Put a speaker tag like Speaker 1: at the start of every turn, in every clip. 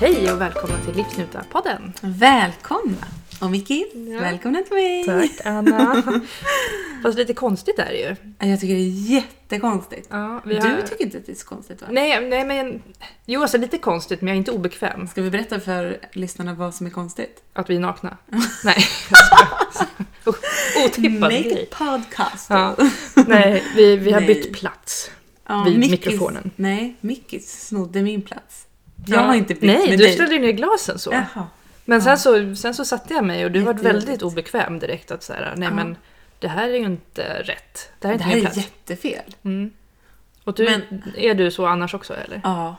Speaker 1: Hej och välkomna till Livsnjutarpodden!
Speaker 2: Välkomna! Och Vicky,
Speaker 1: Ja.
Speaker 2: välkomna till mig!
Speaker 1: Tack Anna! Fast lite konstigt är det ju.
Speaker 2: Jag tycker det är jättekonstigt.
Speaker 1: Ja, vi har...
Speaker 2: Du tycker inte att det är så konstigt va?
Speaker 1: Nej, nej men... Jo, alltså lite konstigt men jag är inte obekväm
Speaker 2: Ska vi berätta för lyssnarna vad som är konstigt?
Speaker 1: att vi är nakna. nej, jag skojar. Otippad
Speaker 2: Make
Speaker 1: grej.
Speaker 2: a podcast!
Speaker 1: Ja. Nej, vi, vi har
Speaker 2: Nej.
Speaker 1: bytt plats.
Speaker 2: Ja,
Speaker 1: Vid mikrofonen.
Speaker 2: Nej, Mickis snodde min plats.
Speaker 1: Ja.
Speaker 2: Jag har inte bytt
Speaker 1: Nej,
Speaker 2: med
Speaker 1: du
Speaker 2: dig.
Speaker 1: ställde ju ner glasen så.
Speaker 2: Jaha.
Speaker 1: Men sen, så, sen så satte jag mig och du var
Speaker 2: Jättejobbigt.
Speaker 1: väldigt obekväm direkt att så här, nej
Speaker 2: Ja.
Speaker 1: men det här är ju inte rätt. Det här är inte
Speaker 2: Det här
Speaker 1: min
Speaker 2: är
Speaker 1: plats.
Speaker 2: jättefel.
Speaker 1: Mm. Och du, är du så annars också eller?
Speaker 2: Ja.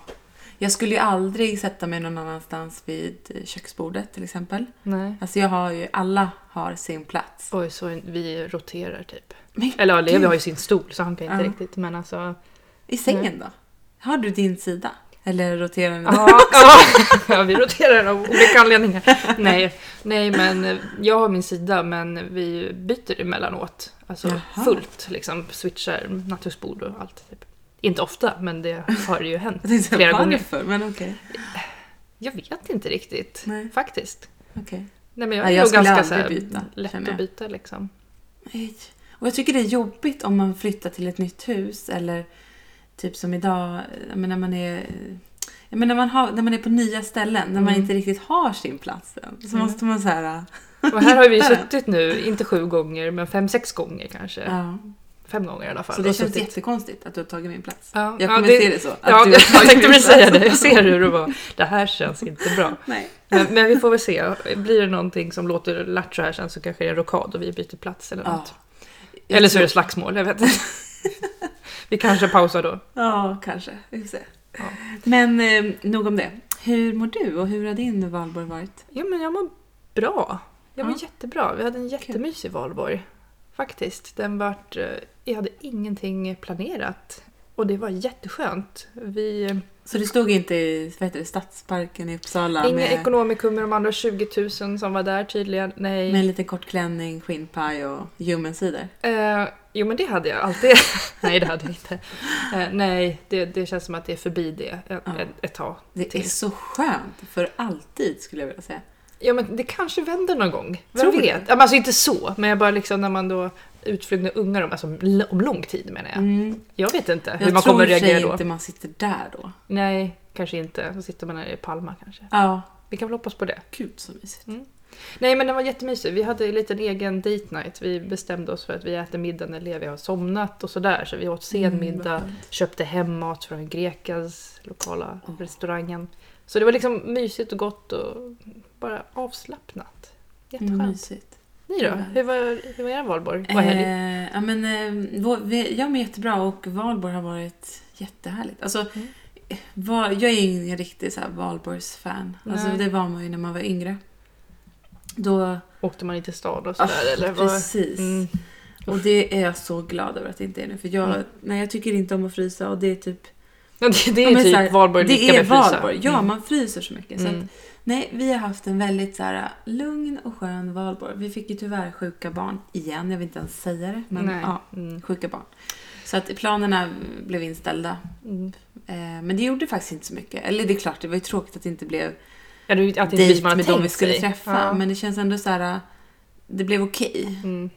Speaker 2: Jag skulle ju aldrig sätta mig någon annanstans vid köksbordet till exempel.
Speaker 1: Nej.
Speaker 2: Alltså jag har ju, alla har sin plats.
Speaker 1: Oj, så vi roterar typ.
Speaker 2: Men
Speaker 1: Eller ja, Levi
Speaker 2: gud.
Speaker 1: har ju sin stol så han kan inte
Speaker 2: Ja.
Speaker 1: riktigt men alltså...
Speaker 2: I sängen då? Har du din sida? Eller roterar ni?
Speaker 1: Ja, ja, ja, vi roterar av olika anledningar. Nej, nej, men eh, jag har min sida men vi byter emellanåt. Alltså
Speaker 2: Jaha.
Speaker 1: fullt liksom, switchar nattduksbord och allt. Typ. Inte ofta men det har ju hänt
Speaker 2: Jag tänkte
Speaker 1: flera
Speaker 2: säga
Speaker 1: gånger.
Speaker 2: varför, men okej.
Speaker 1: Jag vet inte riktigt
Speaker 2: Nej.
Speaker 1: faktiskt.
Speaker 2: Okej.
Speaker 1: Nej, men jag är
Speaker 2: Nej, jag
Speaker 1: nog
Speaker 2: skulle
Speaker 1: ganska så
Speaker 2: aldrig
Speaker 1: här,
Speaker 2: byta,
Speaker 1: lätt
Speaker 2: känner
Speaker 1: att
Speaker 2: jag.
Speaker 1: byta liksom.
Speaker 2: Nej. Och jag tycker det är jobbigt om man flyttar till ett nytt hus eller typ som idag, jag menar, när man är jag menar, när, man har, när man är på nya ställen, när man
Speaker 1: Mm.
Speaker 2: inte riktigt har sin plats än, så
Speaker 1: Mm.
Speaker 2: måste man så här...
Speaker 1: Och här har vi ju
Speaker 2: Hitta den.
Speaker 1: suttit nu, inte sju gånger, men fem, sex gånger kanske.
Speaker 2: Ja.
Speaker 1: Fem gånger i alla fall.
Speaker 2: Så det
Speaker 1: Och
Speaker 2: känns
Speaker 1: suttit-
Speaker 2: jättekonstigt att du har tagit min plats.
Speaker 1: Ja,
Speaker 2: Jag
Speaker 1: ja,
Speaker 2: kommer
Speaker 1: det,
Speaker 2: se det så. Att
Speaker 1: Ja,
Speaker 2: du har
Speaker 1: jag
Speaker 2: tagit
Speaker 1: tänkte
Speaker 2: min
Speaker 1: precis
Speaker 2: plats.
Speaker 1: säga det. Jag ser hur du var. Det här känns inte bra.
Speaker 2: Nej.
Speaker 1: Men, men vi får väl se. Blir det någonting som låter lattjo här sen så kanske det är en rockad och vi byter plats eller
Speaker 2: Ja.
Speaker 1: något. Eller så är det slagsmål, jag vet inte. Vi kanske pausar då.
Speaker 2: Ja, kanske. Vi får se.
Speaker 1: Ja.
Speaker 2: Men eh, nog om det. Hur mår du och hur har din valborg varit?
Speaker 1: Ja, men jag mår bra. Jag mår
Speaker 2: Ja.
Speaker 1: jättebra. Vi hade en jättemysig valborg. Faktiskt. Den vart, eh, jag hade ingenting planerat. Och det var jätteskönt. Vi,
Speaker 2: Så du stod inte i vad heter det, Stadsparken i Uppsala
Speaker 1: inga
Speaker 2: med,
Speaker 1: ekonomikum med de andra 20 000 som var där tydligen. Nej.
Speaker 2: med en liten kort klänning, skinnpaj och ljummen cider?
Speaker 1: Eh, jo men det hade jag alltid. nej det hade jag inte. Eh, nej, det, det känns som att det är förbi det ett,
Speaker 2: Ja.
Speaker 1: ett, ett tag.
Speaker 2: Det är
Speaker 1: till.
Speaker 2: så skönt för alltid skulle jag vilja säga.
Speaker 1: Ja men det kanske vänder någon gång. Vem
Speaker 2: Tror du?
Speaker 1: vet? Ja, men alltså inte så, men jag bara liksom när man då utflugna ungar om, alltså, l- om lång tid menar jag.
Speaker 2: Mm.
Speaker 1: Jag vet inte hur
Speaker 2: Jag
Speaker 1: man
Speaker 2: tror
Speaker 1: kommer
Speaker 2: i och för sig
Speaker 1: reagera då.
Speaker 2: inte man sitter där då.
Speaker 1: Nej, kanske inte. Så sitter man här i Palma kanske.
Speaker 2: Ja,
Speaker 1: Vi kan väl hoppas på det.
Speaker 2: gud så mysigt.
Speaker 1: Nej men den var jättemysig. Vi hade en liten egen date night. Vi bestämde oss för att vi äter middag när Levi har somnat och sådär. Så vi åt sen
Speaker 2: Mm, vad
Speaker 1: middag, köpte hem mat från Grekas lokala
Speaker 2: Åh.
Speaker 1: restaurangen. Så det var liksom mysigt och gott och bara avslappnat. Jätteskönt.
Speaker 2: Mm, mysigt.
Speaker 1: Ni då? Hur var, hur var er valborg? Var helg?
Speaker 2: Eh, ja, men, eh, vår, vi, jag mår jättebra och valborg har varit jättehärligt. Alltså,
Speaker 1: Mm.
Speaker 2: val, jag är ju ingen riktig så här, valborgsfan. Alltså,
Speaker 1: Nej.
Speaker 2: det var man ju när man var yngre. Då,
Speaker 1: Åkte man in till stad och sådär?
Speaker 2: Ah,
Speaker 1: eller var...
Speaker 2: precis.
Speaker 1: Mm.
Speaker 2: Och det är jag så glad över att det inte är nu. För jag,
Speaker 1: Mm.
Speaker 2: nej, jag tycker inte om att frysa och det är typ...
Speaker 1: Ja, det, det är
Speaker 2: ja, men
Speaker 1: typ
Speaker 2: så här,
Speaker 1: valborg
Speaker 2: Det
Speaker 1: lika
Speaker 2: är
Speaker 1: med frysa.
Speaker 2: valborg. Ja, man fryser så mycket. Så
Speaker 1: Mm.
Speaker 2: att, nej, vi har haft en väldigt så här, lugn och skön valborg. Vi fick ju tyvärr sjuka barn igen. Jag vill inte ens säga det. Men
Speaker 1: Nej.
Speaker 2: ja,
Speaker 1: Mm.
Speaker 2: sjuka barn. Så att planerna blev inställda.
Speaker 1: Mm.
Speaker 2: Eh, men det gjorde faktiskt inte så mycket. Eller det är klart, det var ju tråkigt att det inte blev
Speaker 1: Ja, det är ju- att det inte blir
Speaker 2: dejt
Speaker 1: som man har
Speaker 2: med dem vi
Speaker 1: tänkt
Speaker 2: skulle
Speaker 1: sig.
Speaker 2: träffa.
Speaker 1: Ja.
Speaker 2: Men det känns ändå så här. Det blev okej.
Speaker 1: Mm.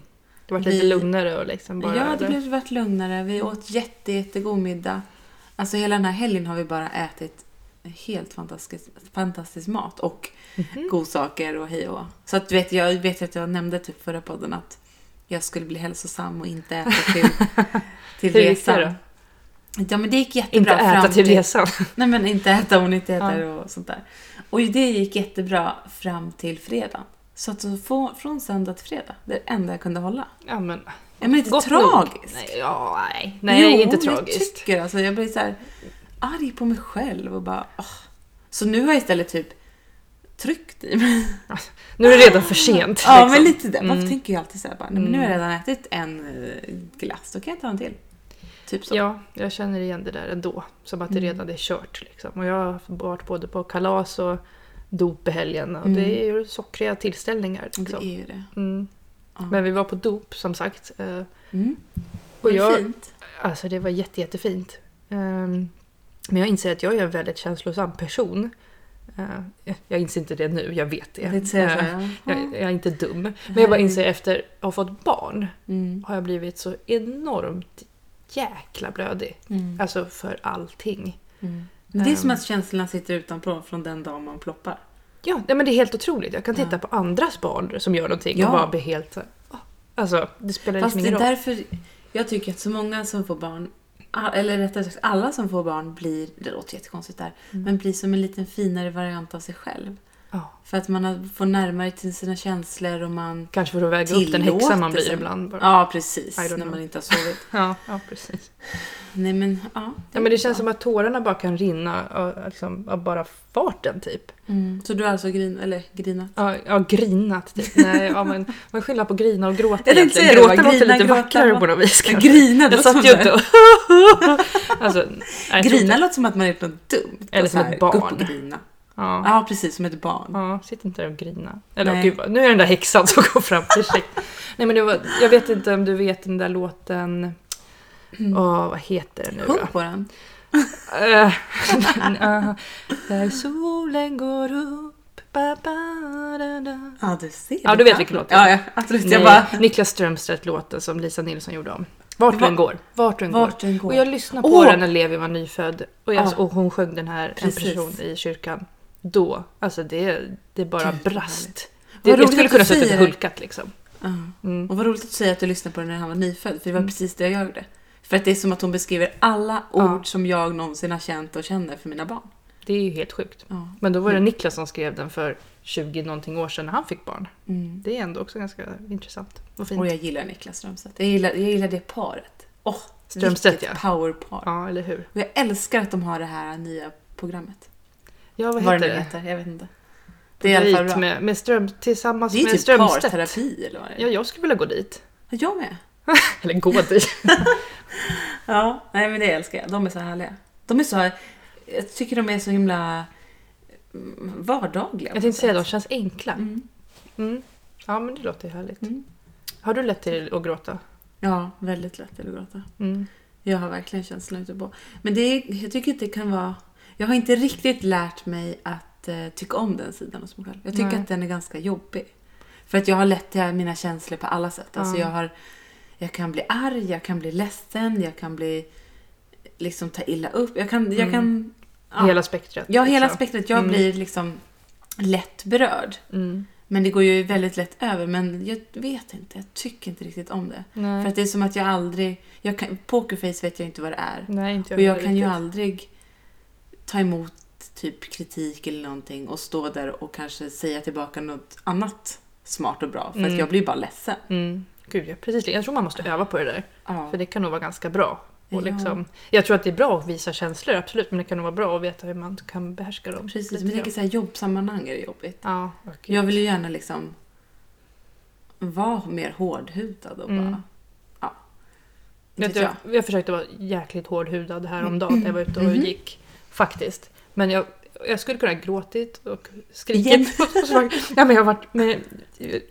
Speaker 1: Det var lite
Speaker 2: Vi-
Speaker 1: lugnare och liksom bara...
Speaker 2: ja, det
Speaker 1: eller?
Speaker 2: blev varit lugnare. Vi åt jätte, jättegod middag. Alltså hela den här helgen har vi bara ätit helt fantastisk, fantastisk mat och
Speaker 1: Mhm.
Speaker 2: godsaker och hej och hå. Så att, du vet, jag vet att jag nämnde typ förra podden att jag skulle bli hälsosam och inte äta till, till
Speaker 1: Hur gick det
Speaker 2: resan. Ja men det gick jättebra.
Speaker 1: Inte äta
Speaker 2: fram
Speaker 1: till resan.
Speaker 2: Nej men inte äta om ni inte
Speaker 1: Ja.
Speaker 2: äter och sånt där. Och det gick jättebra fram till fredag. Så att så få, från söndag till fredag, det är det enda jag kunde hålla.
Speaker 1: Ja, men,
Speaker 2: Ja men lite
Speaker 1: gott nog.
Speaker 2: tragiskt.
Speaker 1: Nej, ja, nej. nej
Speaker 2: Jo,
Speaker 1: inte
Speaker 2: jag
Speaker 1: tragiskt.
Speaker 2: tycker alltså. Jag blir så här arg på mig själv och bara åh. Så nu har jag istället typ tryckt i mig.
Speaker 1: Nu är det redan för sent.
Speaker 2: Ja
Speaker 1: liksom.
Speaker 2: men lite det. Varför
Speaker 1: Mm.
Speaker 2: tänker jag alltid så här bara, nej, men nu har jag redan ätit en eh, glass, då kan jag ta en till. Typ så. Mm.
Speaker 1: Ja, jag känner igen det där ändå. Som att det redan är kört. Liksom. Och jag har varit både på kalas och dop i helgen. Och det är ju sockriga tillställningar.
Speaker 2: Mm. Det är
Speaker 1: Liksom.
Speaker 2: ju det.
Speaker 1: Mm.
Speaker 2: Ja.
Speaker 1: Men vi var på dop som sagt. eh,
Speaker 2: Mm.
Speaker 1: Och
Speaker 2: Det är
Speaker 1: jag,
Speaker 2: fint.
Speaker 1: Alltså det var jätte, jättefint. Ehm, men jag inser att jag är en väldigt känslosam person. Eh, Eh, Jag inser inte det nu, jag vet det.
Speaker 2: Jag tänkte säga så
Speaker 1: Eh,
Speaker 2: här,
Speaker 1: jag,
Speaker 2: jaha.
Speaker 1: jag är inte dum. Men
Speaker 2: Nej.
Speaker 1: jag bara inser efter att ha fått barn
Speaker 2: Mm.
Speaker 1: har jag blivit så enormt jäkla blödig.
Speaker 2: Mm.
Speaker 1: Alltså för allting.
Speaker 2: Mm. Men Det är som
Speaker 1: Ehm.
Speaker 2: att känslorna sitter utanpå från den dag man ploppar.
Speaker 1: Ja, nej, men det är helt otroligt. Jag kan titta
Speaker 2: Ja.
Speaker 1: på andras barn som gör någonting
Speaker 2: Ja.
Speaker 1: och bara bli helt så här, "Åh." Alltså, det spelar
Speaker 2: Fast
Speaker 1: liksom
Speaker 2: det är
Speaker 1: ingen roll.
Speaker 2: därför jag tycker att så många som får barn, all- eller rättare sagt alla som får barn blir, det låter jättekonstigt där,
Speaker 1: Mm.
Speaker 2: men blir som en liten finare variant av sig själv.
Speaker 1: Ja.
Speaker 2: För att man har- får närmare till sina känslor och man...
Speaker 1: Kanske för att väga upp den häxa man blir
Speaker 2: Tillåtelse.
Speaker 1: ibland. Bara.
Speaker 2: Ja, precis.
Speaker 1: I don't
Speaker 2: När
Speaker 1: know.
Speaker 2: man inte har sovit.
Speaker 1: Ja, ja, precis.
Speaker 2: Nej men, ja.
Speaker 1: Ja, men det känns som att tårarna bara kan rinna av, liksom, av bara farten typ.
Speaker 2: Mm. Så du har alltså grin, eller grinat?
Speaker 1: Ja, ja grinat typ. Nej, ja, men man skiljer på grina och gråta
Speaker 2: Jag tänkte
Speaker 1: egentligen.
Speaker 2: säga det,
Speaker 1: Gråta
Speaker 2: va?
Speaker 1: låter
Speaker 2: Grina,
Speaker 1: lite
Speaker 2: gråta,
Speaker 1: vackrare
Speaker 2: va?
Speaker 1: på något vis. kanske.
Speaker 2: Grina,
Speaker 1: Jag satt ju inte och... alltså, nej, jag tror
Speaker 2: Grina
Speaker 1: inte-
Speaker 2: låter som att man har gjort något dumt.
Speaker 1: Eller som
Speaker 2: Så här,
Speaker 1: ett barn.
Speaker 2: Gå upp och grina.
Speaker 1: Ja.
Speaker 2: Ja, precis. Som ett barn.
Speaker 1: Ja, sitt inte där och grina. Eller
Speaker 2: Nej.
Speaker 1: gud, vad- nu är det den där häxan som går fram till sig. Nej men det var, jag vet inte om du vet den där låten... Åh, vad heter den nu då?
Speaker 2: Sjung på den.
Speaker 1: Eh, ja. Där solen går upp, ba, ba, da, da.
Speaker 2: Ja, du ser.
Speaker 1: Ja, du vet vilken låt det är.
Speaker 2: Ja, ja. Absolut. Jag
Speaker 1: Nej,
Speaker 2: bara...
Speaker 1: Niklas Strömstedt-låten som Lisa Nilsson gjorde om. Vart du
Speaker 2: Va-
Speaker 1: än går. Vart du än går.
Speaker 2: Vart den går.
Speaker 1: Och jag lyssnade på
Speaker 2: Åh!
Speaker 1: den när Levi var nyfödd och, jag,
Speaker 2: Ja.
Speaker 1: och hon sjöng den här, en
Speaker 2: Precis.
Speaker 1: person i kyrkan. Då, alltså det, det bara
Speaker 2: Gud, vad
Speaker 1: brast.
Speaker 2: härligt.
Speaker 1: Det,
Speaker 2: Vad
Speaker 1: jag
Speaker 2: roligt
Speaker 1: skulle
Speaker 2: att
Speaker 1: kunna
Speaker 2: du
Speaker 1: sätta
Speaker 2: säger
Speaker 1: ett
Speaker 2: det.
Speaker 1: hulkat liksom.
Speaker 2: Ja.
Speaker 1: Mm.
Speaker 2: Och vad roligt att du säger att du lyssnade på den när han var nyfödd, för det var
Speaker 1: Mm.
Speaker 2: precis det jag gjorde. För att det är som att hon beskriver alla
Speaker 1: Ja.
Speaker 2: ord som jag någonsin har känt och känner för mina barn.
Speaker 1: Det är ju helt sjukt.
Speaker 2: Ja.
Speaker 1: Men då var det Niklas som skrev den för 20 någonting år sedan när han fick barn.
Speaker 2: Mm.
Speaker 1: Det är ändå också ganska intressant. Vad
Speaker 2: Och
Speaker 1: fint.
Speaker 2: jag gillar Niklas Strömstedt. Jag gillar, jag gillar det paret. Åh, oh,
Speaker 1: Strömstedt ja.
Speaker 2: vilket powerpar.
Speaker 1: Ja, eller hur.
Speaker 2: Och jag älskar att de har det här nya programmet.
Speaker 1: Ja, vad
Speaker 2: Vad
Speaker 1: heter
Speaker 2: det nu
Speaker 1: det?
Speaker 2: heter, jag vet inte. Det är i alla fall
Speaker 1: Dejt
Speaker 2: bra.
Speaker 1: Med, med ström, tillsammans
Speaker 2: Det är ju
Speaker 1: med
Speaker 2: typ
Speaker 1: Strömstedt.
Speaker 2: parterapi eller vad det är.
Speaker 1: Ja, jag skulle vilja gå dit.
Speaker 2: Jag med.
Speaker 1: Eller gå dit.
Speaker 2: Ja, nej men det älskar jag. De är så härliga. De är så... Jag tycker de är så himla mm, vardagliga.
Speaker 1: Jag tänkte säga de känns enkla.
Speaker 2: Mm.
Speaker 1: Mm. Ja, men det låter ju härligt.
Speaker 2: Mm.
Speaker 1: Har du lätt till att gråta?
Speaker 2: Ja, väldigt lätt att gråta.
Speaker 1: Mm.
Speaker 2: Jag har verkligen känslan ute på. Men det är, jag tycker att det kan vara... Jag har inte riktigt lärt mig att eh, tycka om den sidan hos mig själv. Jag tycker
Speaker 1: Nej.
Speaker 2: att den är ganska jobbig. För att jag har lätt till mina känslor på alla sätt. Alltså
Speaker 1: Ja.
Speaker 2: jag, har, jag kan bli arg, jag kan bli ledsen, jag kan bli... Liksom ta illa upp. Jag kan... Jag
Speaker 1: Mm.
Speaker 2: kan ja,
Speaker 1: Hela spektrat.
Speaker 2: ja, hela
Speaker 1: liksom.
Speaker 2: spektrat. Jag
Speaker 1: Mm.
Speaker 2: blir liksom lätt berörd.
Speaker 1: Mm.
Speaker 2: Men det går ju väldigt lätt över. Men jag vet inte. Jag tycker inte riktigt om det.
Speaker 1: Nej.
Speaker 2: För att det är som att jag aldrig... Jag kan, pokerface vet jag inte vad det är.
Speaker 1: Nej, inte
Speaker 2: Och jag
Speaker 1: heller
Speaker 2: kan ju
Speaker 1: riktigt.
Speaker 2: aldrig ta emot typ kritik eller någonting och stå där och kanske säga tillbaka något annat smart och bra. För
Speaker 1: Mm.
Speaker 2: att jag blir bara ledsen.
Speaker 1: Mm. Gud, jag, precis. Jag tror man måste öva på det där.
Speaker 2: Ja.
Speaker 1: För det kan nog vara ganska bra. Och
Speaker 2: Ja.
Speaker 1: liksom, jag tror att det är bra att visa känslor, absolut. Men det kan nog vara bra att veta hur man kan behärska dem.
Speaker 2: Precis,
Speaker 1: lite
Speaker 2: men jag tänker
Speaker 1: grann.
Speaker 2: så här jobbsammanhang är det jobbigt.
Speaker 1: Ja, och-
Speaker 2: Jag vill ju gärna liksom vara mer hårdhudad och
Speaker 1: Mm.
Speaker 2: bara... Ja.
Speaker 1: Vet
Speaker 2: Vet
Speaker 1: du,
Speaker 2: jag.
Speaker 1: jag, jag försökte vara jäkligt hårdhudad häromdagen när jag var ute och
Speaker 2: Mhm.
Speaker 1: gick. Faktiskt. Men jag, jag skulle kunna ha gråtit och
Speaker 2: Igen?
Speaker 1: skrikit. Och så- ja, men jag, har varit, men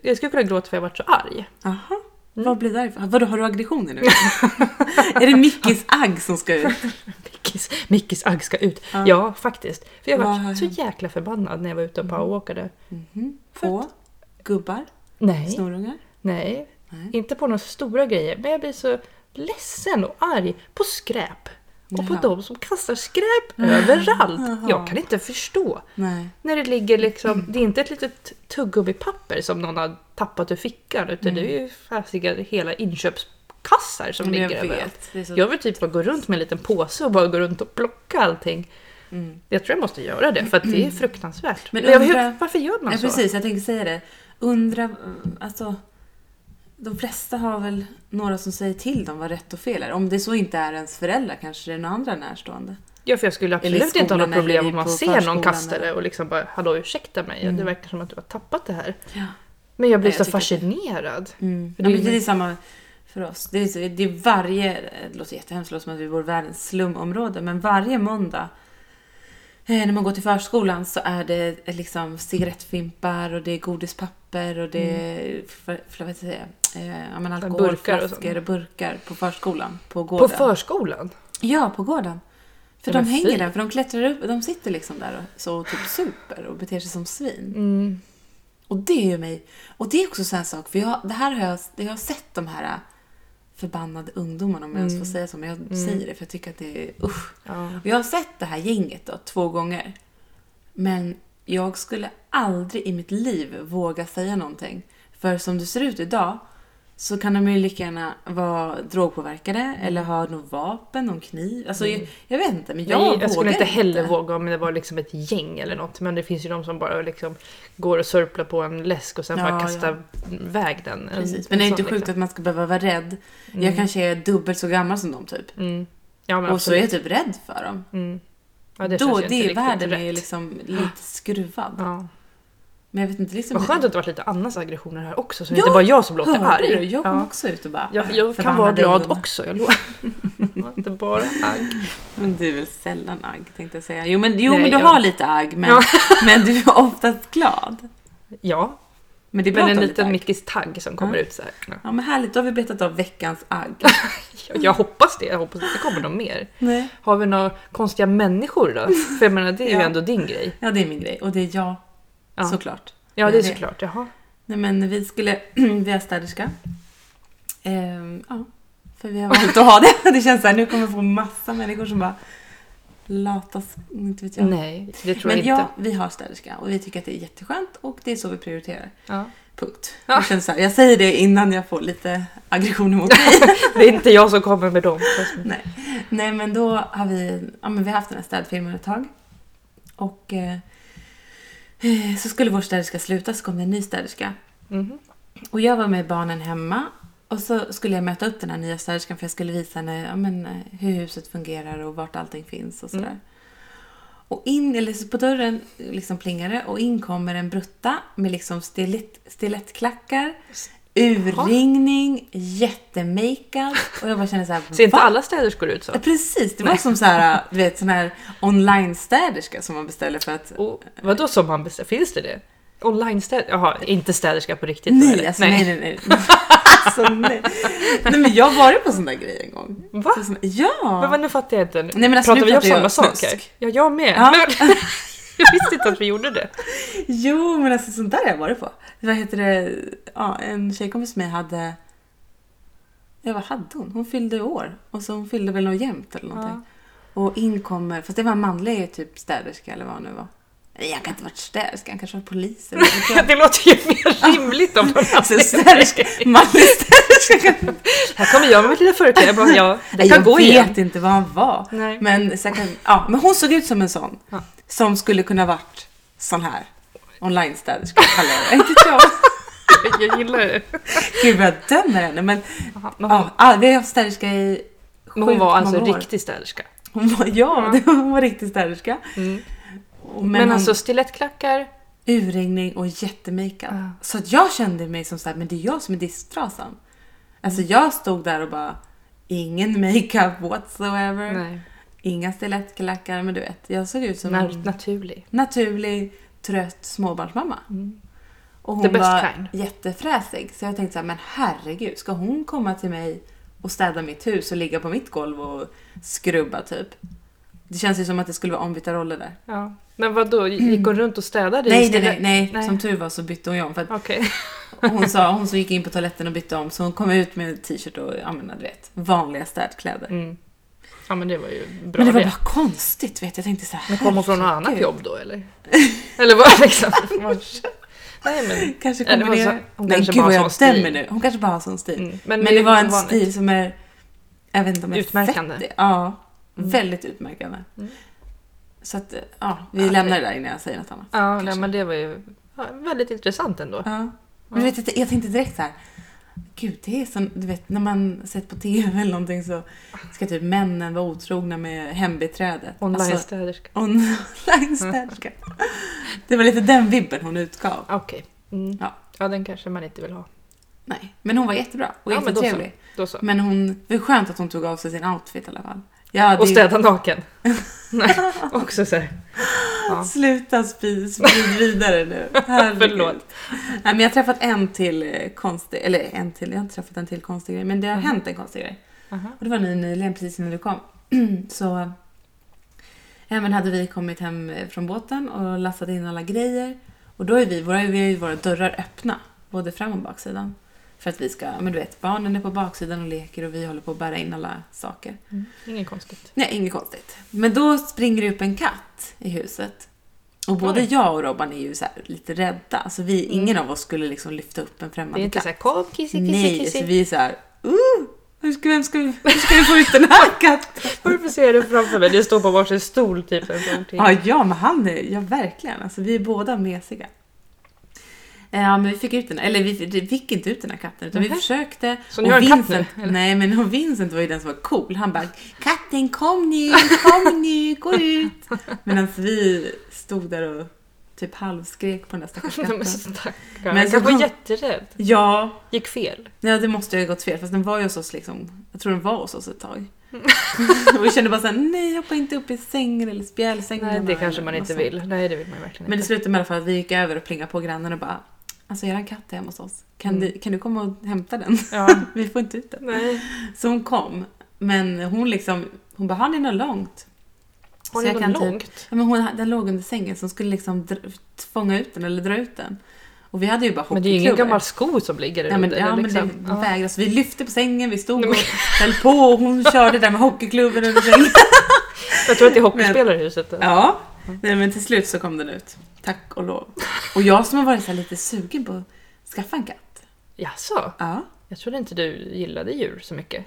Speaker 1: jag skulle kunna gråta för jag varit så arg.
Speaker 2: Aha.
Speaker 1: Mm.
Speaker 2: Vad blir det här för- Vadå, har du aggressioner nu? är det Mickis agg som ska ut?
Speaker 1: Mickis, Mickis agg ska ut.
Speaker 2: Ja.
Speaker 1: Ja, faktiskt. För jag
Speaker 2: Vad
Speaker 1: var
Speaker 2: har
Speaker 1: så
Speaker 2: hänt? Mm.
Speaker 1: jäkla förbannad när jag var ute och powerwalkade.
Speaker 2: Mhm. På gubbar?
Speaker 1: Nej,
Speaker 2: Snorungar?
Speaker 1: nej.
Speaker 2: Nej.
Speaker 1: Inte på några stora grejer. Men jag blir så ledsen och arg på skräp. Och på
Speaker 2: Jaha.
Speaker 1: de som kastar skräp överallt.
Speaker 2: Jaha.
Speaker 1: Jag kan inte förstå.
Speaker 2: Nej.
Speaker 1: När det ligger liksom,
Speaker 2: Mm.
Speaker 1: det är inte ett litet tuggummipapper som någon har tappat ur fickan utan det är ju fasiga hela inköpskassar som
Speaker 2: Mm. Men jag
Speaker 1: ligger överallt.
Speaker 2: vet. Alltså- Det är så
Speaker 1: Jag vill typ bara gå runt med en liten påse och bara gå runt och plocka allting.
Speaker 2: Mm.
Speaker 1: Jag tror jag måste göra det för att det är fruktansvärt.
Speaker 2: Men
Speaker 1: Men jag,
Speaker 2: undra-
Speaker 1: hur, varför gör man
Speaker 2: Ja,
Speaker 1: så?
Speaker 2: precis, jag tänkte säga det. Undra, mm, alltså. De flesta har väl några som säger till dem vad rätt och fel är. Om det så inte är ens föräldrar kanske det är några andra närstående.
Speaker 1: Ja, för jag skulle
Speaker 2: Eller
Speaker 1: absolut
Speaker 2: i
Speaker 1: inte ha något
Speaker 2: skolan
Speaker 1: problem
Speaker 2: eller
Speaker 1: om man
Speaker 2: på
Speaker 1: ser någon
Speaker 2: förskolan
Speaker 1: kasta
Speaker 2: eller-
Speaker 1: det och liksom bara “Hallå ursäkta mig,
Speaker 2: Mm.
Speaker 1: det verkar som att du har tappat det här”.
Speaker 2: Ja.
Speaker 1: Men jag blir
Speaker 2: Ja, jag
Speaker 1: så
Speaker 2: tycker det.
Speaker 1: fascinerad.
Speaker 2: Mm.
Speaker 1: För
Speaker 2: Ja,
Speaker 1: det är
Speaker 2: men
Speaker 1: ju-
Speaker 2: det är samma för oss. Det är, så- det är varje, det låter jättehemskt, det låter som att vi bor i världens slumområde, men varje måndag eh, när man går till förskolan så är det eh, liksom cigarettfimpar och det är godispapper och det är för, för, vad heter det, eh, ja, men
Speaker 1: Burkar och
Speaker 2: alkoholflaskor och burkar på förskolan, på
Speaker 1: På
Speaker 2: gården.
Speaker 1: förskolan?
Speaker 2: Ja, på gården. För
Speaker 1: Men
Speaker 2: de hänger
Speaker 1: fy.
Speaker 2: där, för de klättrar upp, de sitter liksom där och så och typ super och beter sig som svin.
Speaker 1: Mm.
Speaker 2: Och det är ju mig, och det är också en sån här sak, för jag, det här har jag, jag har sett de här äh, förbannade ungdomarna om jag ens
Speaker 1: Mm.
Speaker 2: får säga så, men jag säger det för jag tycker att det är usch.
Speaker 1: Ja.
Speaker 2: Och jag har sett det här gänget då, två gånger. Men jag skulle aldrig i mitt liv våga säga någonting. För som det ser ut idag så kan de ju lika gärna vara drogpåverkade
Speaker 1: Mm.
Speaker 2: eller ha något vapen, någon kniv. Alltså jag, jag vet inte, men jag
Speaker 1: Jag,
Speaker 2: vågar
Speaker 1: jag skulle inte heller våga om det var liksom ett gäng eller något. Men det finns ju de som bara liksom går och sörplar på en läsk och sen
Speaker 2: Ja,
Speaker 1: bara
Speaker 2: ja.
Speaker 1: kastar iväg den. En-
Speaker 2: Precis. Men det är
Speaker 1: en
Speaker 2: inte
Speaker 1: sån, liksom.
Speaker 2: sjukt att man ska behöva vara rädd. Jag kanske är dubbelt så gammal som dem typ.
Speaker 1: Mm. Ja, men
Speaker 2: Och så är
Speaker 1: absolut.
Speaker 2: jag typ rädd för dem.
Speaker 1: ja, det känns
Speaker 2: Då,
Speaker 1: ju inte
Speaker 2: det är
Speaker 1: riktigt
Speaker 2: världen
Speaker 1: rätt.
Speaker 2: är ju liksom lite skruvad.
Speaker 1: Ja.
Speaker 2: Men jag vet inte liksom...
Speaker 1: Vad skönt att det varit lite annans aggressioner här också, så det
Speaker 2: Ja,
Speaker 1: inte bara jag som låter
Speaker 2: Hörde du?
Speaker 1: arg.
Speaker 2: Jag kom
Speaker 1: ja.
Speaker 2: också ut och bara...
Speaker 1: jag, jag kan
Speaker 2: förbannade
Speaker 1: vara glad
Speaker 2: ungdomar.
Speaker 1: också, jag lovar. inte bara agg.
Speaker 2: Men du är väl sällan agg tänkte jag säga. Jo men, jo,
Speaker 1: Nej,
Speaker 2: men du
Speaker 1: jag-
Speaker 2: har lite agg men,
Speaker 1: Ja.
Speaker 2: men du är oftast glad.
Speaker 1: Ja,
Speaker 2: Men det är bra
Speaker 1: men
Speaker 2: att
Speaker 1: en
Speaker 2: ha lite Mm.
Speaker 1: liten
Speaker 2: agg.
Speaker 1: Mickis tagg som kommer ut så här. Ja.
Speaker 2: Ja men härligt, då har vi betat av veckans agg.
Speaker 1: Jag, jag hoppas det, jag hoppas att det kommer någon mer.
Speaker 2: Nej.
Speaker 1: Har vi några konstiga människor då? För jag menar, det är ju
Speaker 2: Ja.
Speaker 1: ändå din grej.
Speaker 2: Ja det är min grej och det är jag.
Speaker 1: Ja.
Speaker 2: Såklart.
Speaker 1: Ja,
Speaker 2: Jag
Speaker 1: det är
Speaker 2: vet.
Speaker 1: såklart. Jaha.
Speaker 2: Nej men vi skulle, vi är städerska. Ehm, ja, för vi har valt att ha det. Det känns såhär, nu kommer vi få massa människor som bara latas, inte vet jag.
Speaker 1: Nej, det tror
Speaker 2: men
Speaker 1: jag
Speaker 2: ja,
Speaker 1: inte.
Speaker 2: vi har städerska och vi tycker att det är jätteskönt och det är så vi prioriterar.
Speaker 1: Ja.
Speaker 2: Punkt.
Speaker 1: Ja.
Speaker 2: Jag, känner så här, jag säger det innan jag får lite aggression mot mig.
Speaker 1: Det är inte jag som kommer med dem. fast-
Speaker 2: Nej. Nej, men då har vi, ja, men vi har haft den här städfirman ett tag. Och eh, eh, så skulle vår städerska sluta, så kom det en ny städerska.
Speaker 1: Mhm.
Speaker 2: Och jag var med barnen hemma. Och så skulle jag möta upp den här nya städerskan för jag skulle visa henne ja, men, eh, hur huset fungerar och vart allting finns och sådär. Och in, eller så på dörren liksom plingar det och in kommer en brutta med liksom stilett, stilettklackar, urringning, jättemakeup. Och jag bara känner såhär,
Speaker 1: Ser inte
Speaker 2: "Va?"
Speaker 1: alla städerskor ut så?
Speaker 2: Ja, Precis, det var som så här, du vet, sån här online-städerska som man beställer för att...
Speaker 1: Och vadå som man beställer? Finns det det? Online städerska? Jaha, inte städerska på riktigt? då,
Speaker 2: Nej,
Speaker 1: eller?
Speaker 2: alltså nej, nej, nej. alltså, nej. nej men jag har varit på sån där grej en gång.
Speaker 1: Va?
Speaker 2: Så, sån- ja!
Speaker 1: Men, vad- nu fattar jag inte.
Speaker 2: Nej, men alltså,
Speaker 1: pratar
Speaker 2: nu
Speaker 1: vi om
Speaker 2: pratar jag
Speaker 1: samma sak här?
Speaker 2: snusk.
Speaker 1: Ja, jag med.
Speaker 2: Ja.
Speaker 1: Men, jag visste inte att vi gjorde det.
Speaker 2: Jo, men alltså sånt där har jag varit på. Vad heter det? Ja, en tjejkompis med hade... Ja, vad hade hon? Hon fyllde i år. Och så hon fyllde väl något jämnt eller någonting. Och in kommer... Fast det var en manlig typ städerska eller vad hon nu var. Nej, han kan inte ha varit städerska. Han kanske var polis eller vad vet jag.
Speaker 1: Det låter ju mer rimligt om man
Speaker 2: Alltså, städerska, manlig städerska kan
Speaker 1: Här kommer jag med mitt lilla förkläde. Jag bara, Ja, det
Speaker 2: Nej,
Speaker 1: kan
Speaker 2: jag
Speaker 1: gå
Speaker 2: vet
Speaker 1: igen.
Speaker 2: inte vad han var.
Speaker 1: Nej.
Speaker 2: Men, säkert, ja, men hon såg ut som en sån.
Speaker 1: Ja.
Speaker 2: Som skulle kunna varit sån här. Online-städerska kallar jag det. Inte vet jag.
Speaker 1: Jag- Jag gillar det.
Speaker 2: Gud vad jag dömer henne. Men
Speaker 1: Jaha, men hon,
Speaker 2: ja, ja, vi har haft städerska i
Speaker 1: men hon
Speaker 2: sjukt
Speaker 1: var
Speaker 2: många
Speaker 1: alltså
Speaker 2: år.
Speaker 1: riktig städerska.
Speaker 2: Hon var, ja, det var- hon var riktig städerska. Och- Men,
Speaker 1: Mm. Men,
Speaker 2: hon,
Speaker 1: alltså stilettklackar.
Speaker 2: urringning och jättemakeup.
Speaker 1: Ja.
Speaker 2: Så att jag kände mig som så här, men det är jag som är disktrasan. Alltså
Speaker 1: Mm.
Speaker 2: jag stod där och bara, ingen makeup whatsoever.
Speaker 1: Nej,
Speaker 2: Inga stilettklackar, men du vet. Jag såg ut som
Speaker 1: nat-
Speaker 2: en
Speaker 1: naturlig.
Speaker 2: naturlig, trött småbarnsmamma. Och
Speaker 1: Mm. The
Speaker 2: hon
Speaker 1: best
Speaker 2: var
Speaker 1: kind.
Speaker 2: jättefräsig. Så jag tänkte så här, men herregud, ska hon komma till mig och städa mitt hus och ligga på mitt golv och skrubba typ? Det känns ju som att det skulle vara ombytta roller där.
Speaker 1: Ja. Men vad då? gick hon runt och städade? i
Speaker 2: Mm. Nej, nej,
Speaker 1: stilett-
Speaker 2: nej, nej,
Speaker 1: Nej.
Speaker 2: Som tur var så bytte hon ju om. För att
Speaker 1: Okej.
Speaker 2: hon sa, hon så gick in på toaletten och bytte om så hon kom ut med t-shirt och ja, men, du vet, vanliga städkläder.
Speaker 1: Mm. Ja men det var ju bra
Speaker 2: men det var bara konstigt vet jag. Jag tänkte så här,
Speaker 1: Men kom hon från något annat
Speaker 2: herregud.
Speaker 1: jobb då eller? Eller vad liksom? Nej men.
Speaker 2: Kanske
Speaker 1: Eller
Speaker 2: kommer det...
Speaker 1: hon sa- hon
Speaker 2: Nej
Speaker 1: kanske
Speaker 2: gud
Speaker 1: bara
Speaker 2: vad
Speaker 1: har sån
Speaker 2: jag
Speaker 1: stil.
Speaker 2: dömer nu. Hon kanske bara har sån stil.
Speaker 1: Mm.
Speaker 2: Men,
Speaker 1: är
Speaker 2: det var en
Speaker 1: ovanligt.
Speaker 2: stil som är... Jag vet inte om jag
Speaker 1: Utmärkande. Mm.
Speaker 2: fett- Ja, väldigt utmärkande. Så att, ja, vi
Speaker 1: Ja,
Speaker 2: lämnar det där innan jag säger något annat.
Speaker 1: Ja, nej, men det var ju ja, väldigt intressant ändå.
Speaker 2: Ja. Men vet du, jag tänkte direkt så här. Gud, det är som, du vet när man sett på TV eller någonting så ska typ männen vara otrogna med hembiträdet. Alltså,
Speaker 1: Online-städerska.
Speaker 2: online-städerska. Det var lite den vibben hon utgav.
Speaker 1: Okej. Mm.
Speaker 2: Ja.
Speaker 1: ja, den kanske man inte vill ha.
Speaker 2: Nej, men hon var jättebra och
Speaker 1: Ja, men då så.
Speaker 2: jättetrevlig.
Speaker 1: Då så.
Speaker 2: Men hon, det är skönt att hon tog av sig sin outfit i alla fall. Jag hade
Speaker 1: Och
Speaker 2: ju-
Speaker 1: städa naken. Nej, också så här. Ja.
Speaker 2: Sluta spy, sprid vidare nu. Herregud.
Speaker 1: Förlåt.
Speaker 2: Nej, men jag har träffat en till eh, konstig, eller en till, jag har inte träffat en till konstig grej, men det har hänt en konstig grej.
Speaker 1: Aha.
Speaker 2: Och det var nu nyligen, precis innan du kom. Så Även hade vi kommit hem eh, från båten och lastat in alla grejer. Och då är vi, våra, vi har ju våra dörrar öppna, både fram och baksidan. För att vi ska, ja, men du vet, barnen är på baksidan och leker och vi håller på att bära in alla saker.
Speaker 1: Mm. Inget konstigt.
Speaker 2: Nej, inget konstigt. Men då springer det upp en katt i huset. Och både
Speaker 1: Oj. Mm.
Speaker 2: jag och Robban är ju så här lite rädda. Alltså vi, ingen av oss skulle liksom lyfta upp en främmande
Speaker 1: Det är inte
Speaker 2: katt.
Speaker 1: såhär kom kissi kissi
Speaker 2: Nej,
Speaker 1: kissi.
Speaker 2: så vi är så här, uh, hur ska, vem ska, vi- hur ska vi få ut den här katten?
Speaker 1: Varför ser jag det framför mig? Det står på varsin stol typ. En gång till.
Speaker 2: Ja, ja, men han är, ja verkligen. Alltså vi är båda mesiga. Eh, Ja, men vi fick ut den, eller vi vi fick inte ut den här katten utan vi
Speaker 1: Nähä.
Speaker 2: försökte.
Speaker 1: Så ni har en katt
Speaker 2: Vincent,
Speaker 1: nu, eller?
Speaker 2: Nej, men och Vincent var ju den som var cool. Han bara “Katten kom nu, kom nu, gå ut!” Medan vi stod där och typ halvskrek på den där stackars
Speaker 1: Men
Speaker 2: katten.
Speaker 1: stackarn.
Speaker 2: Men
Speaker 1: Men
Speaker 2: så
Speaker 1: jag var
Speaker 2: kom-
Speaker 1: jätterädd.
Speaker 2: Ja,
Speaker 1: Gick fel.
Speaker 2: Ja, det måste ju ha gått fel. Fast den var ju hos oss liksom. Jag tror den var hos oss ett tag.
Speaker 1: Mm.
Speaker 2: och jag kände bara såhär, nej hoppa inte upp i sängen eller spjälsängen.
Speaker 1: Nej, det
Speaker 2: eller
Speaker 1: kanske man
Speaker 2: något
Speaker 1: inte
Speaker 2: sånt.
Speaker 1: vill. Nej, det vill man ju verkligen
Speaker 2: Men det
Speaker 1: inte.
Speaker 2: slutade med i alla fall att vi gick över och plingade på grannen och bara, alltså eran katt är hemma hos oss. Kan,
Speaker 1: Mm.
Speaker 2: du, kan du komma och hämta den?
Speaker 1: Ja.
Speaker 2: vi får inte ut den.
Speaker 1: Nej.
Speaker 2: Så hon kom. Men hon liksom, hon bara, har ni något långt?
Speaker 1: Har
Speaker 2: Så
Speaker 1: ni
Speaker 2: jag
Speaker 1: gått
Speaker 2: kan typ-
Speaker 1: långt?
Speaker 2: Ja, men hon, den låg under sängen så hon skulle liksom dra, fånga ut den eller dra ut den. Och vi hade ju bara
Speaker 1: Men det är ju ingen
Speaker 2: hockeyklubbor.
Speaker 1: gammal sko som ligger där
Speaker 2: Ja men,
Speaker 1: ute,
Speaker 2: liksom. ja,
Speaker 1: eller
Speaker 2: men det, de
Speaker 1: Ja.
Speaker 2: vägrade. Så vi lyfte på sängen, vi stod
Speaker 1: Nej,
Speaker 2: och
Speaker 1: men-
Speaker 2: höll på och hon körde där med hockeyklubben under sängen.
Speaker 1: Jag tror att det är hockeyspelare i huset. där.
Speaker 2: Ja, nej, men till slut så kom den ut. Tack och lov. Och jag som har varit så här lite sugen på att skaffa en katt.
Speaker 1: Jaså?
Speaker 2: Ja.
Speaker 1: Jag trodde inte du gillade djur så mycket.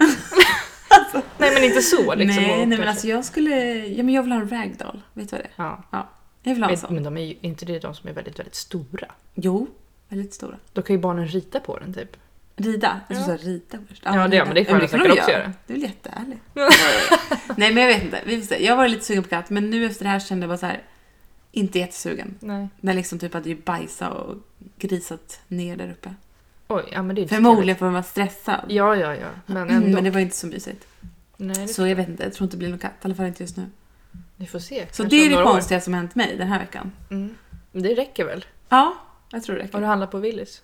Speaker 1: Nej, men inte så liksom.
Speaker 2: nej,
Speaker 1: och
Speaker 2: nej men
Speaker 1: kanske-
Speaker 2: alltså jag skulle, ja men jag vill ha en ragdoll. Vet du vad det är?
Speaker 1: Ja.
Speaker 2: Jag vill ha en
Speaker 1: Men,
Speaker 2: sån.
Speaker 1: men de är ju inte det de som är väldigt, väldigt stora.
Speaker 2: Jo, väldigt stora.
Speaker 1: Då kan ju barnen rita på den typ.
Speaker 2: Rida? Jag
Speaker 1: Ja.
Speaker 2: tror du sa rita först.
Speaker 1: Ja, det-
Speaker 2: rida.
Speaker 1: men det kan
Speaker 2: Ja,
Speaker 1: man
Speaker 2: kan
Speaker 1: säkert
Speaker 2: nog
Speaker 1: också
Speaker 2: göra.
Speaker 1: göra.
Speaker 2: Du är väl jätteärlig. Nej men jag vet inte, vi får se. Jag var lite sugen på katt men nu efter det här kände jag bara så här, inte jättesugen.
Speaker 1: Nej.
Speaker 2: Den liksom typ hade ju bajsat och grisat ner där uppe.
Speaker 1: Oj, ja men det är inte så
Speaker 2: Förmodligen för att den var stressad. Mm,
Speaker 1: trevligt. Ja, ja, ja. Men ändå.
Speaker 2: Men det var inte så mysigt.
Speaker 1: Nej, det...
Speaker 2: Så jag vet inte, jag tror inte det blir någon katt. I alla fall inte just nu.
Speaker 1: vi får se.
Speaker 2: Så
Speaker 1: Kanske
Speaker 2: det är
Speaker 1: om
Speaker 2: det
Speaker 1: några år.
Speaker 2: konstiga som hänt mig den här veckan.
Speaker 1: Mm. Men Det räcker väl?
Speaker 2: Ja, jag tror det
Speaker 1: Har du
Speaker 2: räcker.
Speaker 1: handlat på Willys?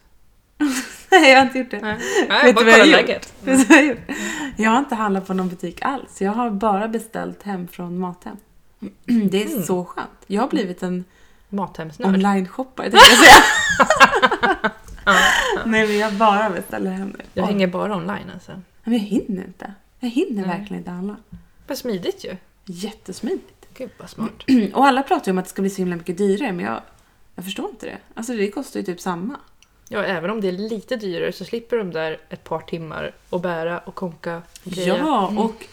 Speaker 2: Nej, jag har inte gjort det.
Speaker 1: Nej,
Speaker 2: Vet
Speaker 1: Nej bara
Speaker 2: du vad
Speaker 1: kolla
Speaker 2: jag gjort?
Speaker 1: läget.
Speaker 2: Vet du vad jag har gjort? Mm. Jag har inte handlat på någon butik alls. Jag har bara beställt hem från Mathem. Det är
Speaker 1: Mm.
Speaker 2: så skönt. Jag har blivit en
Speaker 1: Mathemsnörd.
Speaker 2: online-shoppare tänkte jag säga.
Speaker 1: Ja.
Speaker 2: Nej men jag bara beställer hem det.
Speaker 1: Jag
Speaker 2: Oj.
Speaker 1: hänger bara online alltså.
Speaker 2: Men jag hinner inte. Jag hinner
Speaker 1: Nej.
Speaker 2: verkligen inte handla.
Speaker 1: Vad smidigt ju.
Speaker 2: Jättesmidigt.
Speaker 1: Gud vad smart.
Speaker 2: Och alla pratar ju om att det ska bli så himla mycket dyrare, men jag, jag förstår inte det. Alltså det kostar ju typ samma.
Speaker 1: Ja, även om det är lite dyrare så slipper de där ett par timmar och bära och konka och greja.
Speaker 2: Ja, och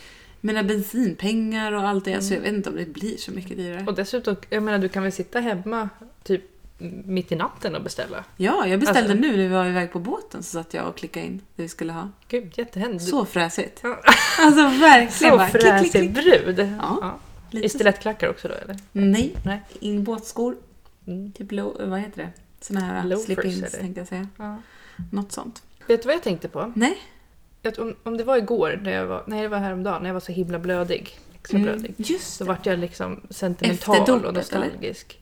Speaker 2: mina bensinpengar och allt det. Så
Speaker 1: Mm.
Speaker 2: jag vet inte om det blir så mycket dyrare.
Speaker 1: Och dessutom, jag menar du kan väl sitta hemma typ mitt i natten och beställa?
Speaker 2: Ja, jag beställde
Speaker 1: Alltså-
Speaker 2: nu när vi var iväg på båten så satt jag och klickade in det vi skulle ha.
Speaker 1: Gud, jättehändigt.
Speaker 2: Så fräsigt.
Speaker 1: Ja.
Speaker 2: Alltså verkligen
Speaker 1: Så
Speaker 2: bara klick, klick,
Speaker 1: fräsig
Speaker 2: klick.
Speaker 1: brud!
Speaker 2: Ja,
Speaker 1: Ja. I
Speaker 2: Lite.
Speaker 1: stilettklackar också då eller?
Speaker 2: Nej,
Speaker 1: Nej.
Speaker 2: inbåtskor.
Speaker 1: Mm.
Speaker 2: Typ lo, vad heter det? Såna här uh,
Speaker 1: Loafers,
Speaker 2: slip-ins
Speaker 1: eller?
Speaker 2: tänkte jag säga.
Speaker 1: Ja.
Speaker 2: Något sånt.
Speaker 1: Vet du vad jag tänkte på?
Speaker 2: Nej.
Speaker 1: Att om, om det var igår, när jag var, nej det var häromdagen, när jag var så himla blödig. Extra
Speaker 2: Mm.
Speaker 1: blödig.
Speaker 2: Just
Speaker 1: Så
Speaker 2: det.
Speaker 1: vart jag liksom
Speaker 2: Efter
Speaker 1: sentimental
Speaker 2: dopet,
Speaker 1: och nostalgisk.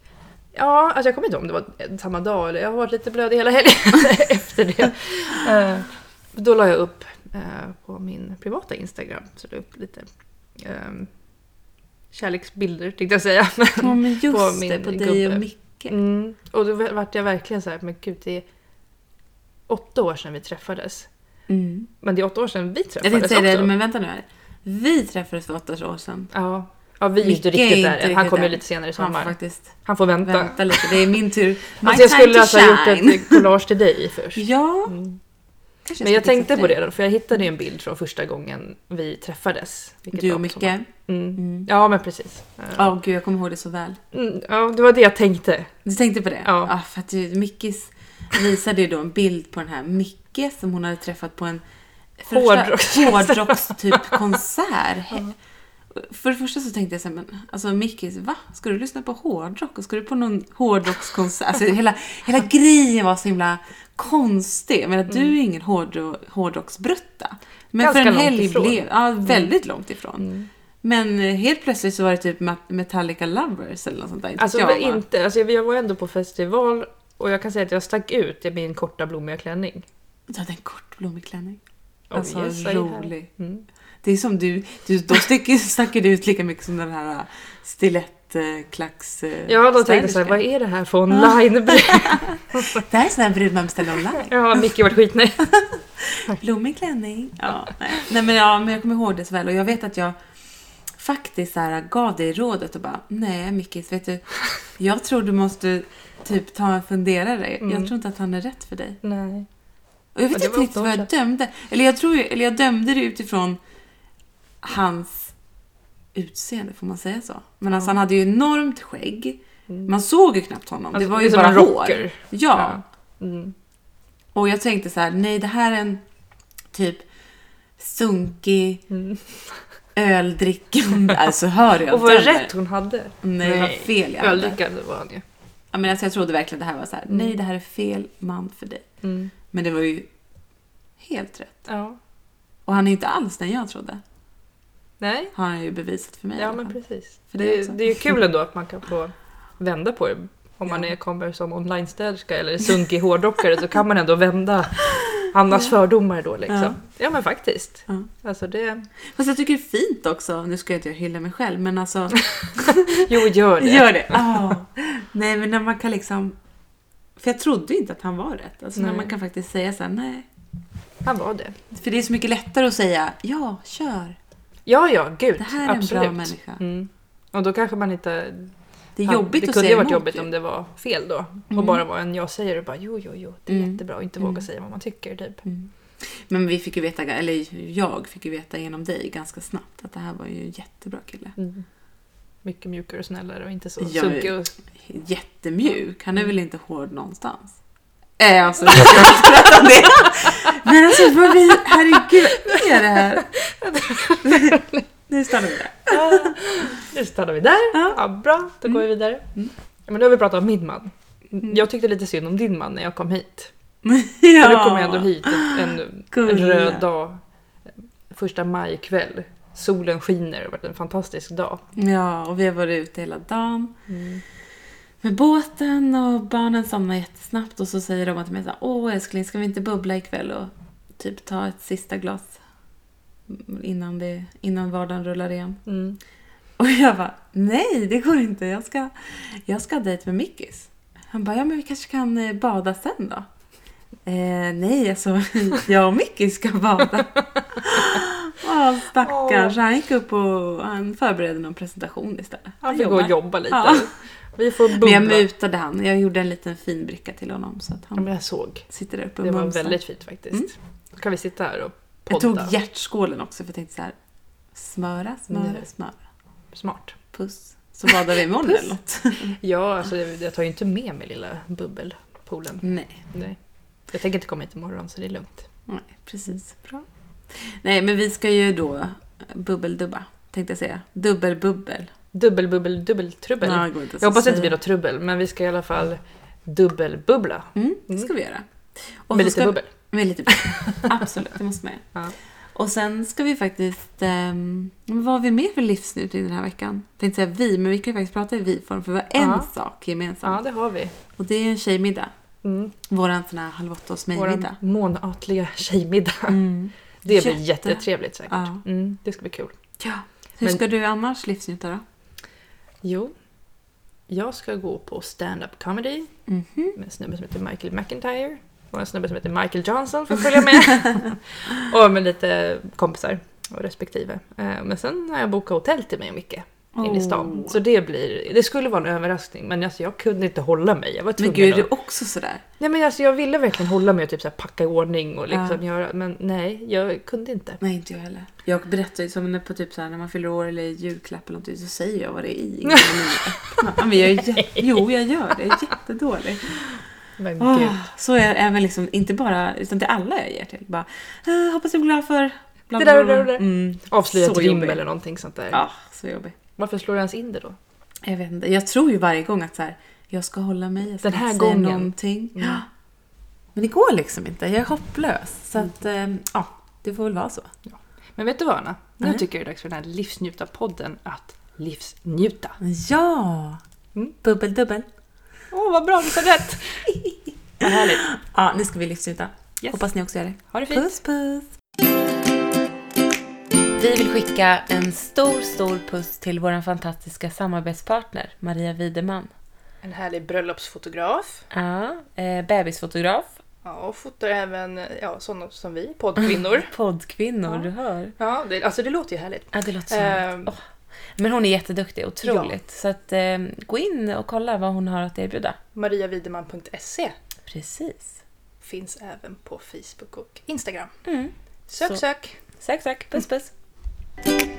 Speaker 1: Ja, alltså jag kommer inte ihåg om det var samma dag eller jag har varit lite blödig hela helgen efter det. Eh, då la jag upp eh, på min privata Instagram, så la jag upp lite eh, kärleksbilder tänkte jag säga.
Speaker 2: Ja, men just
Speaker 1: på
Speaker 2: det,
Speaker 1: min
Speaker 2: på dig
Speaker 1: gubbe.
Speaker 2: och Micke.
Speaker 1: Mm, och då vart jag verkligen så här, men gud det är åtta år sedan vi träffades.
Speaker 2: Mm.
Speaker 1: Men det är åtta år sedan vi
Speaker 2: Jag
Speaker 1: träffades
Speaker 2: tänkte säga
Speaker 1: också.
Speaker 2: det, men vänta nu här. Vi träffades för åtta år sedan.
Speaker 1: Ja. ja, vi är ju inte
Speaker 2: Micke är
Speaker 1: riktigt
Speaker 2: inte
Speaker 1: där än. Han
Speaker 2: riktigt
Speaker 1: kommer ju
Speaker 2: där.
Speaker 1: lite senare i
Speaker 2: Han får
Speaker 1: sommar.
Speaker 2: faktiskt
Speaker 1: Han får vänta.
Speaker 2: vänta lite. Det är min tur. My
Speaker 1: Alltså jag
Speaker 2: time
Speaker 1: skulle
Speaker 2: to
Speaker 1: alltså ha gjort
Speaker 2: shine.
Speaker 1: ett collage till dig först.
Speaker 2: Ja.
Speaker 1: Mm.
Speaker 2: kanske
Speaker 1: Men jag
Speaker 2: ska fixa
Speaker 1: tänkte
Speaker 2: till
Speaker 1: på
Speaker 2: dig.
Speaker 1: det då, för jag hittade ju en bild från första gången vi träffades. vilket
Speaker 2: Du
Speaker 1: var
Speaker 2: och
Speaker 1: på
Speaker 2: Micke.
Speaker 1: sommaren.
Speaker 2: Ja,
Speaker 1: Mm.
Speaker 2: mm.
Speaker 1: Ja, men precis. Ja.
Speaker 2: Åh, gud, jag kommer ihåg det så väl.
Speaker 1: Mm, ja, det var det jag tänkte.
Speaker 2: Du tänkte på det?
Speaker 1: Ja.
Speaker 2: Ah, för att du, Mickis visade ju då en bild på den här Micke som hon hade träffat på en första
Speaker 1: Hårdrocks-
Speaker 2: hårdrocks-typ konsert. För det första så tänkte jag så här, men alltså Mickis, va? Ska du lyssna på hårdrock? Och ska du på någon hårdrockskonsert? Alltså hela, hela grejen var så himla konstig. Jag menar, du är ingen hårdro, hårdrocksbrutta. Men
Speaker 1: Mm. Ganska
Speaker 2: för en
Speaker 1: långt
Speaker 2: helg
Speaker 1: ifrån.
Speaker 2: blev... Ja, väldigt långt ifrån.
Speaker 1: Mm.
Speaker 2: Men eh, helt plötsligt så var det typ Ma- Metallica Lovers eller något sånt där. Inte
Speaker 1: Alltså,
Speaker 2: jag
Speaker 1: jag
Speaker 2: bara-
Speaker 1: inte, alltså jag var ändå på festival och jag kan säga att jag stack ut i min korta blommiga klänning.
Speaker 2: Du hade en kortblommig klänning.
Speaker 1: Oh,
Speaker 2: Alltså
Speaker 1: yes, I had.
Speaker 2: rolig.
Speaker 1: Mm.
Speaker 2: Det är som du, du då sticker, stack du ut lika mycket som den här äh, stilettklacks...
Speaker 1: Ja, då tänkte jag så här, vad är det här för online
Speaker 2: Det här är sån här brud man beställer online.
Speaker 1: Ja, Micke vart skitnöjd.
Speaker 2: Blommig klänning. Ja, nej. nej men, ja, men jag kommer ihåg det så väl och jag vet att jag faktiskt så här, gav dig rådet och bara nej Mickis, vet du, jag tror du måste typ ta en funderare.
Speaker 1: Mm.
Speaker 2: Jag tror inte att han är rätt för dig.
Speaker 1: Nej.
Speaker 2: Och jag
Speaker 1: Ja,
Speaker 2: vet
Speaker 1: det var
Speaker 2: inte riktigt
Speaker 1: åtta
Speaker 2: vad
Speaker 1: år
Speaker 2: jag dömde. Eller jag, tror, ju- eller jag dömde det utifrån hans utseende, får man säga så? Men alltså han hade ju enormt skägg. Man såg ju knappt honom.
Speaker 1: Alltså,
Speaker 2: det var
Speaker 1: det är
Speaker 2: ju
Speaker 1: som
Speaker 2: bara
Speaker 1: en
Speaker 2: hår. Ja.
Speaker 1: rocker. Ja. Mm.
Speaker 2: Och jag tänkte så här, nej det här är en typ sunkig öldrickande. Alltså hör jag
Speaker 1: Mm. Och vad
Speaker 2: dömer.
Speaker 1: rätt hon hade.
Speaker 2: Nej, vad fel jag hade.
Speaker 1: Öldrickande var han ju.
Speaker 2: Ja, men alltså, jag trodde verkligen det här var så här, nej det här är fel man för dig.
Speaker 1: Mm.
Speaker 2: Men det var ju helt rätt.
Speaker 1: Ja.
Speaker 2: Och han är inte alls den jag trodde.
Speaker 1: Nej.
Speaker 2: Har han ju bevisat för mig. i
Speaker 1: Ja,
Speaker 2: alla
Speaker 1: men
Speaker 2: fall.
Speaker 1: precis.
Speaker 2: För det
Speaker 1: det,
Speaker 2: också.
Speaker 1: är, det är ju kul ändå att man kan få vända på det. Om man
Speaker 2: Ja.
Speaker 1: är, kommer som onlinestäderska eller sunkig hårdrockare så kan man ändå vända Annas fördomar då liksom.
Speaker 2: Ja.
Speaker 1: Ja, men faktiskt.
Speaker 2: Ja.
Speaker 1: Alltså det...
Speaker 2: Fast jag tycker det är fint också, nu ska jag inte jag hylla mig själv, men alltså
Speaker 1: Jo, gör det.
Speaker 2: gör det! Ah. Nej men när man kan liksom För jag trodde ju inte att han var rätt. Alltså när
Speaker 1: Nej.
Speaker 2: man kan faktiskt säga så här, nej.
Speaker 1: Han var det.
Speaker 2: För det är så mycket lättare att säga, ja, kör!
Speaker 1: Ja, ja, gud.
Speaker 2: Det här är en
Speaker 1: absolut.
Speaker 2: bra människa.
Speaker 1: Mm. Och då kanske man inte...
Speaker 2: Det är
Speaker 1: han-
Speaker 2: jobbigt
Speaker 1: det
Speaker 2: att
Speaker 1: kunde
Speaker 2: säga
Speaker 1: ju varit
Speaker 2: emot
Speaker 1: jobbigt
Speaker 2: ju.
Speaker 1: om det var fel då.
Speaker 2: Mm.
Speaker 1: Och bara var en jag säger och bara jo, jo, jo, det är
Speaker 2: Mm.
Speaker 1: jättebra. Och inte
Speaker 2: Mm.
Speaker 1: våga säga vad man tycker typ.
Speaker 2: Men vi fick ju veta, eller jag fick ju veta genom dig ganska snabbt att det här var ju en jättebra kille.
Speaker 1: Mycket mjukare och snällare och inte så
Speaker 2: Mm. Ja,
Speaker 1: sunkig och
Speaker 2: jättemjuk. Han är
Speaker 1: Mm.
Speaker 2: väl inte hård någonstans? Äh, alltså, jag skrattar om det. Men alltså, vad vi, herregud, vad är det här? Nu stannar vi där.
Speaker 1: Ja, Nu stannar vi där.
Speaker 2: Ja.
Speaker 1: Ja, bra, då går vi vidare.
Speaker 2: Mm.
Speaker 1: Ja, men nu har vi pratat om min man. Jag tyckte lite synd om din man när jag kom hit.
Speaker 2: Ja.
Speaker 1: För då kom jag ändå hit en, en, en
Speaker 2: Gulla.
Speaker 1: röd dag. Första majkväll. Solen skiner, det har varit en fantastisk dag.
Speaker 2: Ja, och vi har varit ute hela dagen med båten och barnen somnar jättesnabbt och så säger de till mig så här, Åh älskling, ska vi inte bubbla ikväll och typ ta ett sista glas innan, det, innan vardagen rullar igen?
Speaker 1: Mm.
Speaker 2: Och jag bara, nej det går inte. Jag ska, jag ska ha dejt med Mickis. Han bara, ja men vi kanske kan eh, bada sen då? Eh, nej, alltså jag och Mickis ska bada. Åh, stackars. Han gick upp och han förberedde någon presentation istället.
Speaker 1: Han får gå och jobba lite.
Speaker 2: Ja.
Speaker 1: Vi får bubbla.
Speaker 2: Men jag
Speaker 1: Men jag,
Speaker 2: mutade han. Jag gjorde en liten fin bricka till honom så att
Speaker 1: ja, Mm. men
Speaker 2: han
Speaker 1: jag såg.
Speaker 2: sitter där uppe och
Speaker 1: Det var
Speaker 2: mumsar.
Speaker 1: väldigt fint faktiskt. Då kan vi sitta här och
Speaker 2: Jag tog
Speaker 1: podda.
Speaker 2: hjärtskålen också för jag tänkte så här, smöra, smöra,
Speaker 1: Nej.
Speaker 2: smöra.
Speaker 1: Smart.
Speaker 2: Puss. Så badar vi imorgon
Speaker 1: Puss.
Speaker 2: eller något.
Speaker 1: Ja, alltså jag jag tar ju inte med mig lilla bubbelpoolen.
Speaker 2: Nej.
Speaker 1: Nej. Jag tänker inte komma hit imorgon så det är lugnt.
Speaker 2: Nej, precis. Bra. Nej, men vi ska ju då bubbeldubba, tänkte jag säga. Dubbelbubbel.
Speaker 1: Dubbel, bubbel, dubbeltrubbel.
Speaker 2: Ja, det går inte
Speaker 1: jag hoppas det inte blir
Speaker 2: säga.
Speaker 1: något trubbel, men vi ska i alla fall dubbelbubbla.
Speaker 2: Mm, det ska vi göra. Och
Speaker 1: Med
Speaker 2: så
Speaker 1: lite
Speaker 2: ska,
Speaker 1: bubbel.
Speaker 2: Med lite bubbel. Absolut, det måste med.
Speaker 1: Ja.
Speaker 2: Och sen ska vi faktiskt... ehm, vad har vi mer för livsnutning den här veckan? Jag tänkte säga vi, men vi kan ju faktiskt prata i vi-form, för vi har en
Speaker 1: Ja.
Speaker 2: sak
Speaker 1: Ja,
Speaker 2: gemensamt.
Speaker 1: det har vi.
Speaker 2: Och det är en tjejmiddag.
Speaker 1: Mm.
Speaker 2: Våran sån här halv åtta hos
Speaker 1: Vår
Speaker 2: mig-middag.
Speaker 1: månatliga tjejmiddag.
Speaker 2: Mm.
Speaker 1: Det blir
Speaker 2: Jätte-
Speaker 1: jättetrevligt säkert.
Speaker 2: Ja.
Speaker 1: Mm, det ska bli kul.
Speaker 2: ja. Hur
Speaker 1: Men-
Speaker 2: ska du annars livsnjuta då?
Speaker 1: Jo, jag ska gå på stand-up comedy
Speaker 2: Mhm.
Speaker 1: med en snubbe som heter Michael McIntyre och en snubbe som heter Michael Johnson får följa med. och med lite kompisar och respektive. Eh, Men sen har jag bokat hotell till mig och Micke inne i stan.
Speaker 2: Åh.
Speaker 1: Så det blir, det skulle vara en överraskning men alltså jag kunde inte hålla mig. Jag var
Speaker 2: Men
Speaker 1: tvungen
Speaker 2: gud, är du
Speaker 1: att,
Speaker 2: också sådär?
Speaker 1: Nej men alltså jag ville verkligen hålla mig och typ så här packa i ordning och liksom göra, men nej jag kunde inte.
Speaker 2: Nej, inte jag heller. Jag berättar ju som när- på typ så här, när man fyller år eller julklapp eller någonting så säger jag vad det är i. innan man öppnar. Ja, men jag är jä- jo, jag gör det. Jag är jättedålig.
Speaker 1: Men gud.
Speaker 2: Ah, så är även liksom, inte bara, utan till alla jag ger till. Bara, eh, hoppas du blir glad för... Bla,
Speaker 1: Det där och
Speaker 2: bla,
Speaker 1: det där
Speaker 2: bla.
Speaker 1: och det.
Speaker 2: Mm.
Speaker 1: Avslöja ett
Speaker 2: så
Speaker 1: rim
Speaker 2: jobbig.
Speaker 1: eller någonting sånt där.
Speaker 2: Ja, så jobbigt.
Speaker 1: Varför slår jag ens in det då?
Speaker 2: Jag vet inte. Jag tror ju varje gång att så här, jag ska hålla mig, jag ska
Speaker 1: Den här
Speaker 2: inte säga
Speaker 1: gången. Mm.
Speaker 2: någonting. Ja. Men det går liksom inte. Jag är hopplös. Så att,
Speaker 1: Mm.
Speaker 2: ehm, ja, det får väl vara så.
Speaker 1: Men vet du vad Anna? Nu
Speaker 2: Nej.
Speaker 1: tycker jag det är dags för den här livsnjutarpodden att livsnjuta.
Speaker 2: Ja!
Speaker 1: Mm.
Speaker 2: Bubbel, dubbel.
Speaker 1: Åh, vad bra, du sa rätt! vad härligt.
Speaker 2: Ja, nu ska vi livsnjuta.
Speaker 1: Yes.
Speaker 2: Hoppas ni också gör det.
Speaker 1: Ha det fint.
Speaker 2: Puss, puss! Vi vill skicka en stor, stor puss till vår fantastiska samarbetspartner Maria Wideman.
Speaker 1: En härlig bröllopsfotograf.
Speaker 2: Ja, eh, bebisfotograf,
Speaker 1: Ja, och fotar även ja, sådana som vi, poddkvinnor.
Speaker 2: poddkvinnor,
Speaker 1: Ja.
Speaker 2: du hör.
Speaker 1: Ja, det, alltså det låter ju härligt.
Speaker 2: Ja, det låter så
Speaker 1: Ehm.
Speaker 2: härligt. Åh. Men hon är jätteduktig, otroligt. Så att, eh, gå in och kolla vad hon har att erbjuda.
Speaker 1: Mariavideman.se
Speaker 2: Precis.
Speaker 1: finns även på Facebook och Instagram.
Speaker 2: Mm.
Speaker 1: Sök,
Speaker 2: Så-
Speaker 1: sök!
Speaker 2: Sök, sök. Puss, puss.